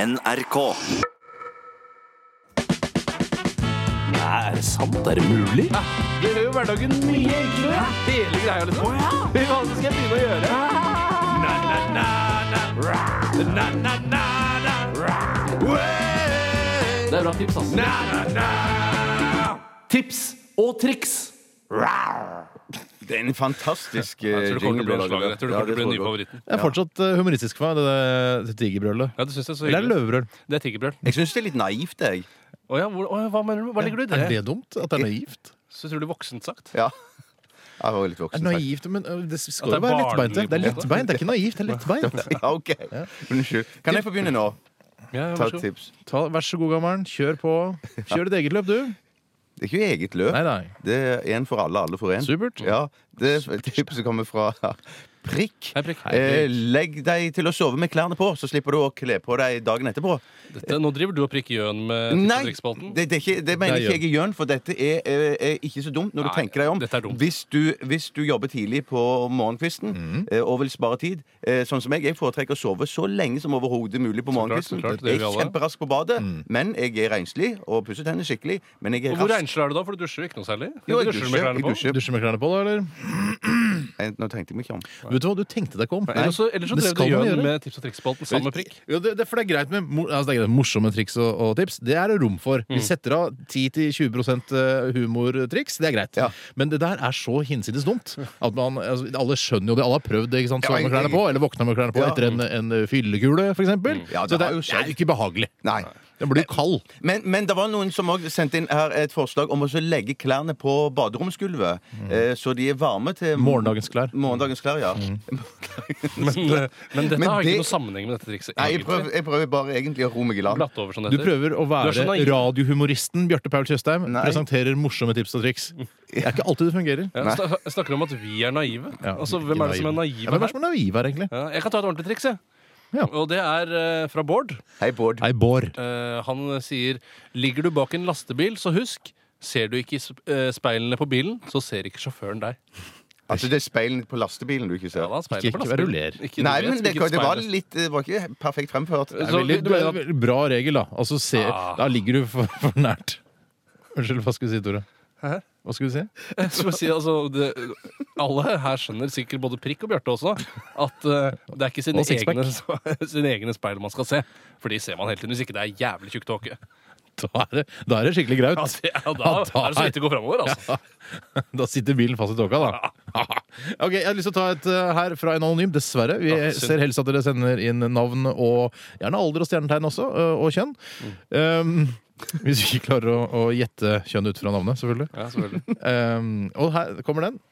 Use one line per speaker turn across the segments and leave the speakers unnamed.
NRK.
Nei, er det sant? Er det mulig?
Det gjør jo hverdagen mye enklere. Hele greia, liksom. Fy faen, så skal jeg begynne å gjøre? Na, na, na, na. Na, na, na, na. Det er bra tips, altså. ass. Na, na, na. Tips og triks.
Det er en fantastisk eh,
Jeg tror det kommer til å bli en slager. Jeg tror det
Ja,
kommer til å bli en ny
tror jeg
favoritten.
altså. Det er fortsatt eh, humoristisk for meg, det, der- det tigerbrølet.
Ja, du synes det er så
Eller er det
hyggelig.
løvebrøl?
Det er tiggerbrøl.
godt. Jeg syns det er litt naivt, jeg.
Å ja, hvor, å, ja, hva mener du? Hva legger du
Er
i det?
det dumt? At det er naivt?
Så tror du voksent sagt?
Ja. Jeg var litt
Det er
voksen. takk.
naivt, men ø, det
At det
skal jo
er liksom.
være lettbeint.
barnlig,
Det er
på en måte.
lettbeint, det er ikke naivt, det er lettbeint.
Ja, OK. Unnskyld. Kan jeg få begynne nå?
Ja,
Ta et tips.
Ta, vær så god, gammelen. Kjør på. Kjør ditt eget løp, du.
Det er ikke eget løp.
Nei, nei.
Det er én for alle, alle for én.
Supert.
Ja, det er et tips som kommer fra Prikk.
Hei, prikk.
Eh, legg deg til å sove med klærne på, så slipper du å kle på deg dagen etterpå.
Dette, nå driver du og prikker gjøn med tips og triksspalten.
det, det, er ikke, det mener
Det er
ikke jeg er gjøn, for dette er, eh, er ikke så dumt når du
Nei,
tenker deg om.
dette er dumt.
Hvis, du, hvis du jobber tidlig på morgenkvisten eh, og vil spare tid, eh, sånn som meg, jeg foretrekker å sove så lenge som overhodet mulig på
klart, så
morgenkvisten.
klart, det gjør
jeg
vi
er
alle.
kjemperask på badet, men jeg er renslig og pusser tennene skikkelig. Men jeg
Og
er
hvor
rask.
renslig er du da? For du dusjer jo ikke noe særlig.
Jo,
du
jeg
dusjer med
dusjer.
klærne
Jeg
på.
dusjer.
Dusjer med klærne på, da, eller?
Eh, Nå tenkte jeg meg ikke om.
Vet du hva, du tenkte deg ikke om.
Eller så, eller så
Det
drev
skal
du
man
gjøn
gjøre.
med tips og triksspalten sammen med prikk.
Jo, det, det, for det er greit med mor- altså det er greit, med morsomme triks og, og tips. Det er det rom for. Vi setter av 10-20 eh, humortriks. Det er greit.
Ja.
Men det der er så hinsides dumt. At man, altså, alle skjønner jo det. Alle har prøvd det. ikke sant?
Ja,
Sove med
jeg-
klærne på, eller våkna med klærne på
Ja.
etter en, en fyllekule, f.eks. eksempel
Ja, det
så det
har
er,
jo
det er
skjedd.
jo ikke behagelig.
Nei.
Den blir jo kald.
Men, men det var noen som også sendte inn her et forslag om å så legge klærne på baderomsgulvet, eh, så de er varme til
Morgendagens klær.
morgendagens klær. ja.
Men, eh, men dette
Men
har
det-
ikke noe sammenheng med dette trikset.
Nei, jeg
egentlig.
prøver, jeg prøver bare egentlig å ro meg i land.
Glatt over, som det
Du
heter.
prøver å
Du er så
være
naiv.
radiohumoristen Bjarte Paul Tjøstheim.
Nei.
Presenterer morsomme tips og triks. Det er ikke alltid det fungerer.
Ja, snak- jeg snakker om at vi er naive.
Ja,
altså,
ikke
Hvem er det som er
Ja,
naive
hvem er
her?
det som er naiv her, egentlig?
Ja, jeg kan ta et ordentlig triks, jeg.
Ja.
Og det er eh, fra Bård.
Hei, Bård.
Nei, Bård.
Eh, han sier Ligger du bak en lastebil, så husk Ser du ikke i sp- eh, speilene på bilen, så ser ikke sjåføren deg.
Altså, det er speilene på lastebilen du ikke
Ja,
ser.
da, speilene
Ikke-
på
ikke
lastebilen.
ruller.
Ikke- du
Nei,
vet
men det,
hvilket
det var
speil-
litt Det var ikke perfekt fremført.
Det
Så
er veldig,
du mener at-
det er en bra regel, da. Altså, se,
Ah.
Da ligger du for, for nært. Unnskyld, hva skulle du si, Tore? Hva skulle du si?
Jeg skulle si, altså, det, alle her skjønner sikkert, både Prikk og Bjarte også, at eh, det er ikke sine
Og sixpack.
egne, sine egne speil man skal se. For de ser man hele tiden hvis ikke det er jævlig tjukk tåke. Altså,
Da er det, da er det skikkelig graut.
Ja, det- ja, da
Ja, da
er det så vidt det går framover, altså.
Da sitter bilen fast i tåka, da. ok, Jeg har lyst til å ta et eh, her fra en anonym, dessverre. Vi
Ja, synd.
ser helst at dere sender inn navn og gjerne alder og stjernetegn også, eh, og kjønn.
Mm.
Um, hvis vi ikke klarer å, å gjette kjønn ut fra navnet, selvfølgelig.
Ja, selvfølgelig.
Um, og her kommer den.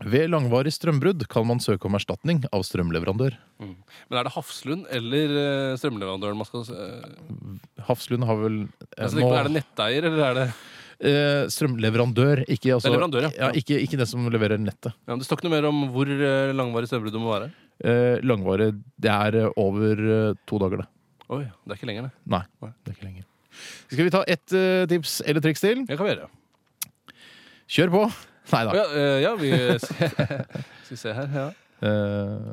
Ved langvarig strømbrudd kan man søke om erstatning av strømleverandør.
Men er det Hafslund eller eh, strømleverandøren man skal eh,
Hafslund har vel eh,
altså,
nå
Er det netteier, eller er det
eh, strømleverandør. Ikke, altså,
Det er leverandør, ja.
ja. ikke, ikke den som leverer nettet.
ja, men Det står ikke noe mer om hvor eh, langvarig strømbrudd det må være.
Eh, langvarig Det er eh, over eh, to dager, det.
Oi, det er ikke lenger, det.
Nei,
Nei.
det er ikke lenger. Skal vi ta ett eh, tips eller triks til?
Jeg kan gjøre det.
Kjør på! Nei
Å
da.
Ja, eh, ja, vi Skal vi se her. Ja.
Eh,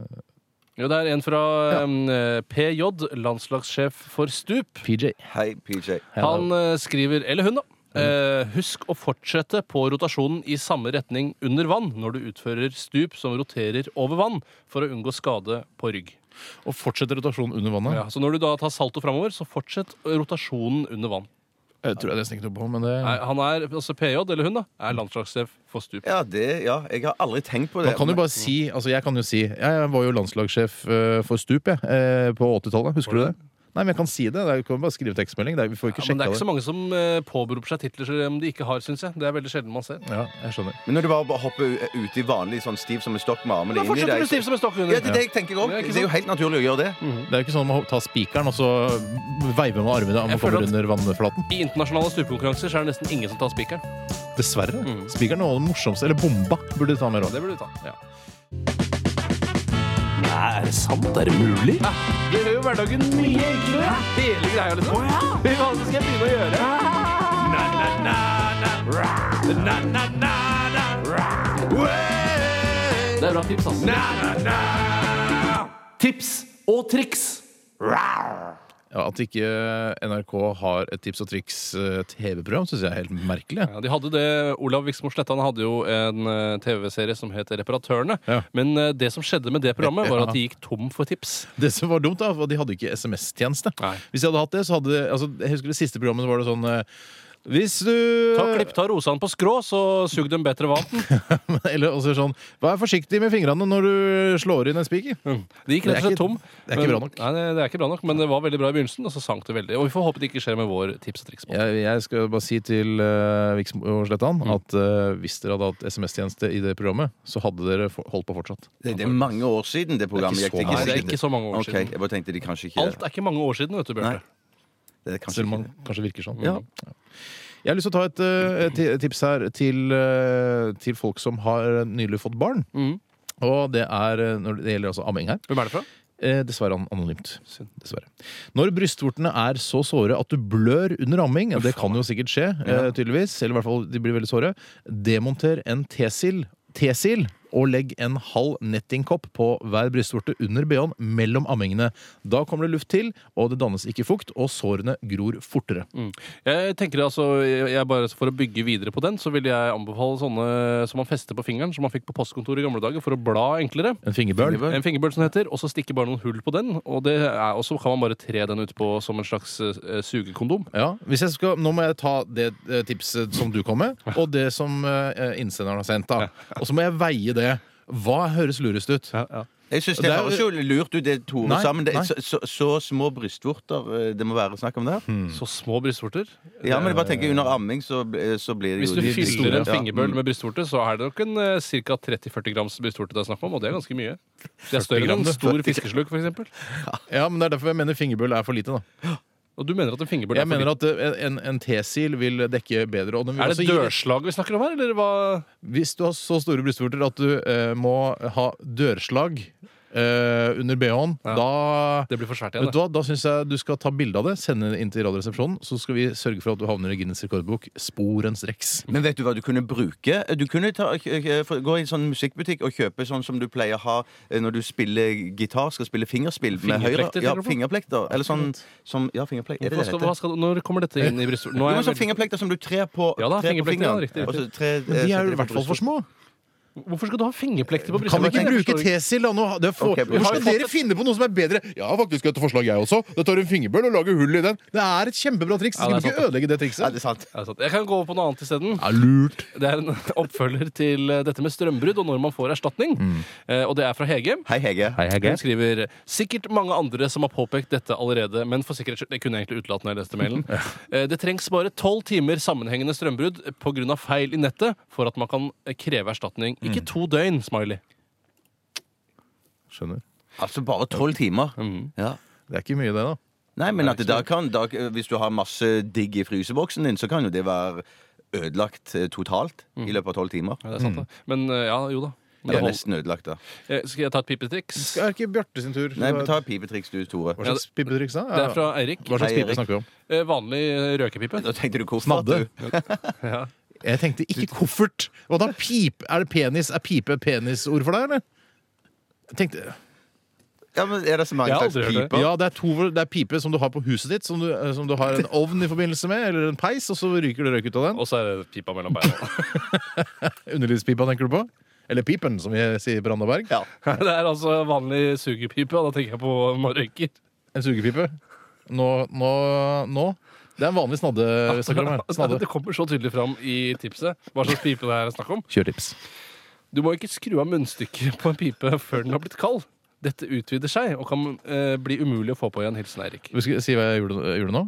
Jo, det er en fra eh, PJ, landslagssjef for Stup.
PJ.
Hei, PJ.
Han eh, skriver, eller hun, da. eh, husk å fortsette på rotasjonen i samme retning under vann når du utfører stup som roterer over vann, for å unngå skade på rygg.
Og fortsetter rotasjonen under vannet.
Ja, så når du da tar salto framover, så fortsett rotasjonen under vann.
Jeg tror jeg nesten ikke noe på, men det
Nei, Han er, altså PJ, eller hun, da, er landslagssjef for stup.
Ja, det Ja, jeg har aldri tenkt på det.
Man kan jo bare si, altså jeg kan jo si Jeg var jo landslagssjef eh, for stup jeg, eh, på 80-tallet. Husker du det? Nei, men jeg kan si det. det er, vi kan bare skrive tekstmelding. Det er, vi får
Ja,
ikke
men det
sjekka
er ikke
det.
så mange som eh, påberoper seg titler som de ikke har, syns jeg. Det er veldig sjelden man ser.
Ja, jeg skjønner.
Men når du bare hopper u- ut i vanlig sånn stiv som en stokk med armene
Da
inn i
fortsetter
deg
du stiv som en stokk
Ja,
under.
det er det jeg tenker òg.
Ja, ikke Mm.
Det er jo helt naturlig å gjøre det.
Det er jo ikke sånn at man tar spikeren og så veiver med armene og
Jeg
man
føler
kommer
at-
under vannflaten.
I internasjonale stupekonkurranser så er det nesten ingen som tar spikeren.
Dessverre. Spikeren var det morsomste. Eller bomba burde du ta med råd.
Det burde du ta. Ja.
Nei, er det sant? Er det mulig?
Det gjør jo hverdagen mye enklere. Hele greia, liksom. Fy faen, så skal jeg begynne å gjøre? Na, na, na, na. Na, na, na, na.
Det er bra tips,
altså.
ass.
Na, na, na. Tips og triks.
Ja, Ja, at ikke eh, NRK har et Tips og triks-TV-program, syns jeg er helt merkelig.
Ja, de hadde det, Olav Viksmo Slettan hadde jo en eh, TV-serie som het Reparatørene.
Ja.
Men eh, det som skjedde med det programmet, var at de gikk tom for tips.
Det som var dumt, da, var at de hadde ikke SMS-tjeneste.
Nei.
Hvis de hadde hatt det, så hadde altså, Jeg husker det siste programmet så var det sånn eh, Hvis du
Eh.
Ta klipp ta rosene på skrå, så sug dem bedre vann.
Eller også sånn Vær forsiktig med fingrene når du slår inn en spiker.
De gikk rett og
Mm. Det er
slett
ikke-
tom.
det er ikke
Men-
bra nok.
Nei, det, det er ikke bra nok, men det var veldig bra i begynnelsen, og så sank det veldig. Og vi får håpe det ikke skjer med vår tips og triks. på.
Jeg, jeg skal bare si til uh, Viksmo og Slettan at eh, hvis dere hadde hatt SMS-tjeneste i det programmet, så hadde dere for, holdt på fortsatt.
Det, det er mange år siden det programmet
Det er
gikk.
ikke
Nei,
så
det er
sikkert.
ikke så mange år
Ok,
siden.
jeg bare tenkte de kanskje ikke
Alt er ikke mange år siden, vet du, Bjarte.
Nei. Det er kanskje
Selv om man
ikke det.
kanskje virker sånn.
Ja.
Jeg har lyst til å ta et, eh, ti- tips her til, eh, til folk som har nylig fått barn.
Mhm.
Og det er eh, når det gjelder altså amming her.
Hvem er det fra?
Eh, dessverre an- anonymt.
Synd.
Dessverre. Når brystvortene er så såre at du blør under amming, det kan jo sikkert skje, eh, tydeligvis, eller i hvert fall de blir veldig såre, demonter en tesil, tesil og legg en halv nettingkopp på hver brystvorte under bh-en mellom ammingene. Da kommer det luft til, og det dannes ikke fukt, og sårene gror fortere.
Mm. Jeg tenker altså, jeg jeg bare For å bygge videre på den, så ville jeg anbefale sånne som man fester på fingeren, som man fikk på postkontoret i gamle dager for å bla enklere.
En fingerbøl.
En fingerbøl som det heter, og så stikker bare noen hull på den. Og, det er, og så kan man bare tre den ut på som en slags eh, sugekondom.
Ja, hvis jeg skal, Nå må jeg ta det eh, tipset som du kom med, og det som eh, innsenderen har sendt. da. Og så må jeg veie det. Hva høres lurest ut?
Jeg synes
Det
det
er-
høres jo lurt ut, det Tore
Nei,
sa, men det er
nei.
så, så, så små brystvorter eh, det må være snakk om der.
Så små brystvorter.
Ja, men jeg bare tenker under amming så, bl- så blir det
Hvis
jo
du
de- de
fyller
store.
en
Ja.
Mm.
fingerbøl med brystvorte, så er det nok en ca. 30-40 grams brystvorte det er snakk om, og det er ganske mye. Det er større enn en stor fiskesluk, f.eks.
Ja, men Det er derfor jeg mener fingerbøl er for lite. da.
Og du mener at en fingerbøl
Jeg
er for
mener
liten?
at eh, en, en tesil vil dekke bedre. Og den vil
Er
også
det
gi-
dørslag vi snakker om her, eller hva?
Hvis du har så store brystvorter at du eh, må ha dørslag eh, under bh-en,
Ja.
da
Det blir for svært igjen,
Vet du
det.
hva, Da syns jeg du skal ta bilde av det, sende det inn til Radioresepsjonen, så skal vi sørge for at du havner i Guinness rekordbok sporenstreks.
Men vet du hva du kunne bruke? Du kunne ta, eh, for- gå i en sånn musikkbutikk og kjøpe sånn som du pleier å ha eh, når du spiller gitar, skal spille fingerspill med høyre.
Fingerplekter,
Ja,
tenker du på?
fingerplekter. Eller sånn som Ja, fingerplekter. Er det
Hva
det
skal,
heter?
hva skal, når kommer dette inn i brystvorten? Nå
Jo,
er
men sånn
jeg veldig-
fingerplekter som du trer på,
Ja da,
trer
fingerplekter, ja,
på fingeren.
riktig, riktig.
Og så trer-
Men de
eh,
er jo
setter
i hvert
på
fall for
brystet.
små.
Hvorfor skal du ha fingerplekter på
Kan vi
brystvorten?
ikke bruke tesil, da? Nå, har- det er for...
Ok, vi har
Hvorfor
jo
skal
fått
dere finne på noe som er bedre? Jeg har faktisk et forslag, jeg også. Da tar du en fingerbøl og lager hull i den. Det er et kjempebra triks.
Ja, det er
Skal du ikke ødelegge det trikset?
Ja, det er sant.
Ja, sant. Jeg kan gå over på noe annet isteden.
Ja, lurt.
Det er en oppfølger til eh, dette med strømbrudd og når man får erstatning.
Mm.
Eh, Og det er fra Hege.
Hei, Hege.
Hun skriver sikkert mange andre som har påpekt dette allerede, men for sikkerhets skyld Det kunne jeg egentlig utelatt når jeg leste mailen. Eh, Det trengs bare tolv timer sammenhengende strømbrudd pga. feil i nettet for at man kan kreve erstatning. Ikke to døgn, smiley.
Skjønner.
Altså bare tolv timer.
Mhm.
Ja.
Det er ikke mye, det, da.
Nei, men at det da kan, da, hvis du har masse digg i fryseboksen din, så kan jo det være ødelagt eh, totalt i
Mm.
løpet av tolv timer.
Ja, det er sant, det. Men eh, ja, jo da. Men
Eller
det holder.
nesten ødelagt, da.
Eh, Skal jeg ta et pipetriks?
Det er ikke Bjarte sin tur.
Nei,
Hva-
ta pipetriks du, Tore.
Hva slags pipetriks, da?
Det er fra Eirik.
Hva slags
Hei,
pipe
Erik.
snakker vi om?
Eh, Vanlig eh, røkepipe.
Da tenkte du koffert,
Snadde.
du.
Jeg tenkte ikke koffert. Hva da? Pip? Er det penis? Er pipe et penisord for deg, eller? Jeg tenkte,
Ja, men er det så
Jeg
mange
har
slags
aldri hørt det.
piper?
ja, det er, to, det er pipe som du har på huset ditt, som du, eh, som du har en ovn i forbindelse med, eller en peis, og så ryker det røyk ut av den.
Og så er det pipa mellom beina.
Underlivspipa, tenker du på? Eller pipen, som vi sier i Brandaberg.
Ja.
Det er altså vanlig sugepipe, og da tenker jeg på man røyker.
En sugepipe. Nå, nå, nå. Det er en vanlig snadde vi snakker om her. Snadde.
Det kommer så tydelig fram i tipset hva slags pipe det er snakk om.
Kjør tips.
Du må ikke skru av munnstykket på en pipe før den har blitt kald. Dette utvider seg og kan eh, bli umulig å få på igjen. Hilsen Eirik.
Skal jeg Si hva jeg gjorde, gjorde nå?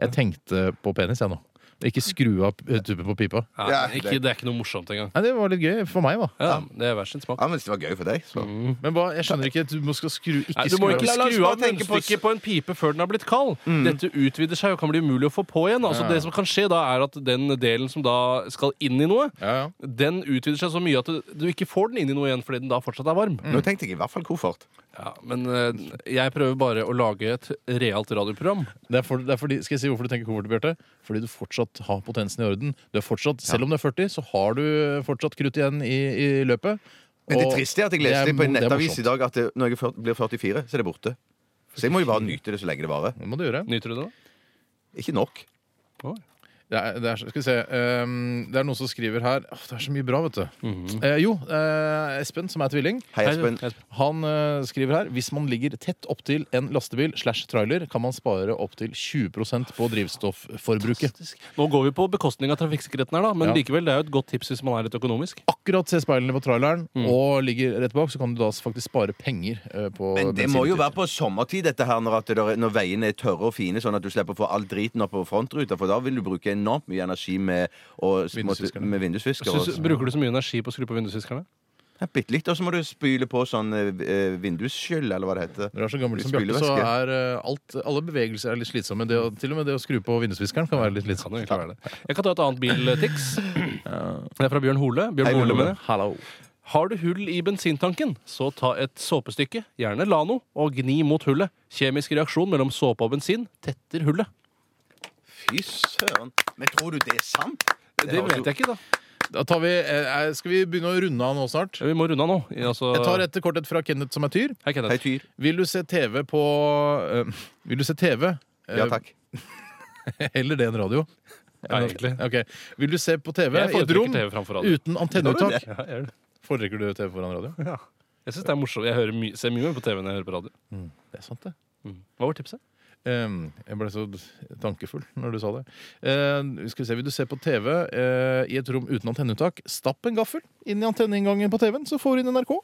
Jeg tenkte på penis, jeg nå. Ikke skru av eh, tuppen på pipa.
Ja, ikke, det er ikke noe morsomt engang.
Nei, Det var litt gøy for meg, da.
Ja, det er hver sin smak.
Ja, men det var gøy for deg. Så.
Men hva, jeg skjønner ikke. Du må skal skru, ikke
Nei, du
skru
må
av-
ikke
La- la oss
skru av
bare tenke på-
munnstykket på en pipe før den har blitt kald. Dette utvider seg og kan bli umulig å få på igjen. Altså, det som kan skje da, er at den delen som da skal inn i noe,
Ja, ja.
den utvider seg så mye at du, du ikke får den inn i noe igjen fordi den da fortsatt er varm.
Nå tenkte jeg i hvert fall koffert.
Ja, men eh, jeg prøver bare å lage et realt radioprogram.
Det er for, det er fordi, skal jeg si hvorfor du tenker koffert, Bjarte? Fordi du fortsatt har potensen i orden. Du er fortsatt, Selv om du er 40, så har du fortsatt krutt igjen i, i løpet.
Men det
Og
triste er at jeg
det er
leste på en
mo- det er
nettavis i eh,
morsomt.
dag at det, når jeg fyr- blir 44, så er det borte. Så jeg må jo bare nyte det så lenge det varer.
Det må du gjøre.
Nyter du det? da?
Ikke nok.
Det er, det er, skal vi se ehm, Det er noen som skriver her Åh, Det er så mye bra, vet du.
Mhm.
Eh, jo, eh, Espen, som er tvilling,
Hei, Espen.
han eh, skriver her Hvis man ligger tett opptil en lastebil slash trailer, kan man spare opptil 20 på drivstofforbruket.
Nå går vi på bekostning av trafikksikkerheten her, da, men
Ja.
likevel, det er jo et godt tips hvis man er litt økonomisk.
Akkurat se speilene på traileren
Mm.
og ligger rett bak, så kan du da faktisk spare penger eh, på
Men det må jo
bensinutgifter.
være på sommertid, dette her, når, at det er, når veiene er tørre og fine, sånn at du slipper å få all driten opp på frontruta, for da vil du bruke enormt mye energi med, å- måtte,
Vindusviskerne.
med vindusvisker.
Synes,
og-
bruker du så mye energi på å skru på vindusviskerne?
Ja, Bitte litt, og så må du spyle på sånn eh, vindusskyll, eller hva det heter.
Når du er så gammel som Bjarte,
Spylevæske.
så er eh, alt, alle bevegelser er litt slitsomme. Det, å- til og med det å skru på vindusviskeren kan være litt
Kan jo
slitsomt.
egentlig være det. Jeg kan ta et annet biltics. Det er fra Bjørn Hole. Bjørn
Hei, Bjørn
Hole
Hole.
mener jeg.
Hallo.
Har du hull i bensintanken, så ta et såpestykke, gjerne Lano, og gni mot hullet. Kjemisk reaksjon mellom såpe og bensin tetter hullet.
Fy søren. Men tror du det er sant?
Det vet jeg ikke, da.
Da tar vi, eh, eh, skal vi begynne å runde av nå snart?
Vi må runde av nå. Altså,
Jeg tar et korthet fra Kenneth som er tyr.
Hei, Kenneth.
Hei, Tyr.
Vil du se TV på eh, Vil du se eh, TV? eh,
Ja takk.
Heller det enn radio.
Ja, egentlig.
Ok. Vil du se på TV
Jeg
i et rom
foretrekker TV framfor radio.
uten antenneuttak?
Ja, jeg gjør det.
Foretrekker du TV foran radio?
Jeg synes det er morsomt. Jeg hører my ser mye mer på TV enn jeg hører på radio. Mm.
Det er sant, det.
Hva var tipset?
Ehm, jeg ble så tankefull når du sa det. Ehm, skal vi se, Vil du se på TV eh, i et rom uten antenneuttak, stapp en gaffel inn i antenneinngangen på TV-en, så får du inn NRK.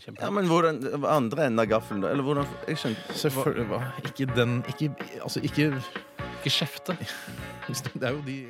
Kjempe.
Ja, men hvordan Andre enden av gaffelen, da? Eller hvordan Jeg skjønner
Selvfølgelig. hva? Ikke den Ikke Altså, ikke
Ikke kjefte.
Det er jo de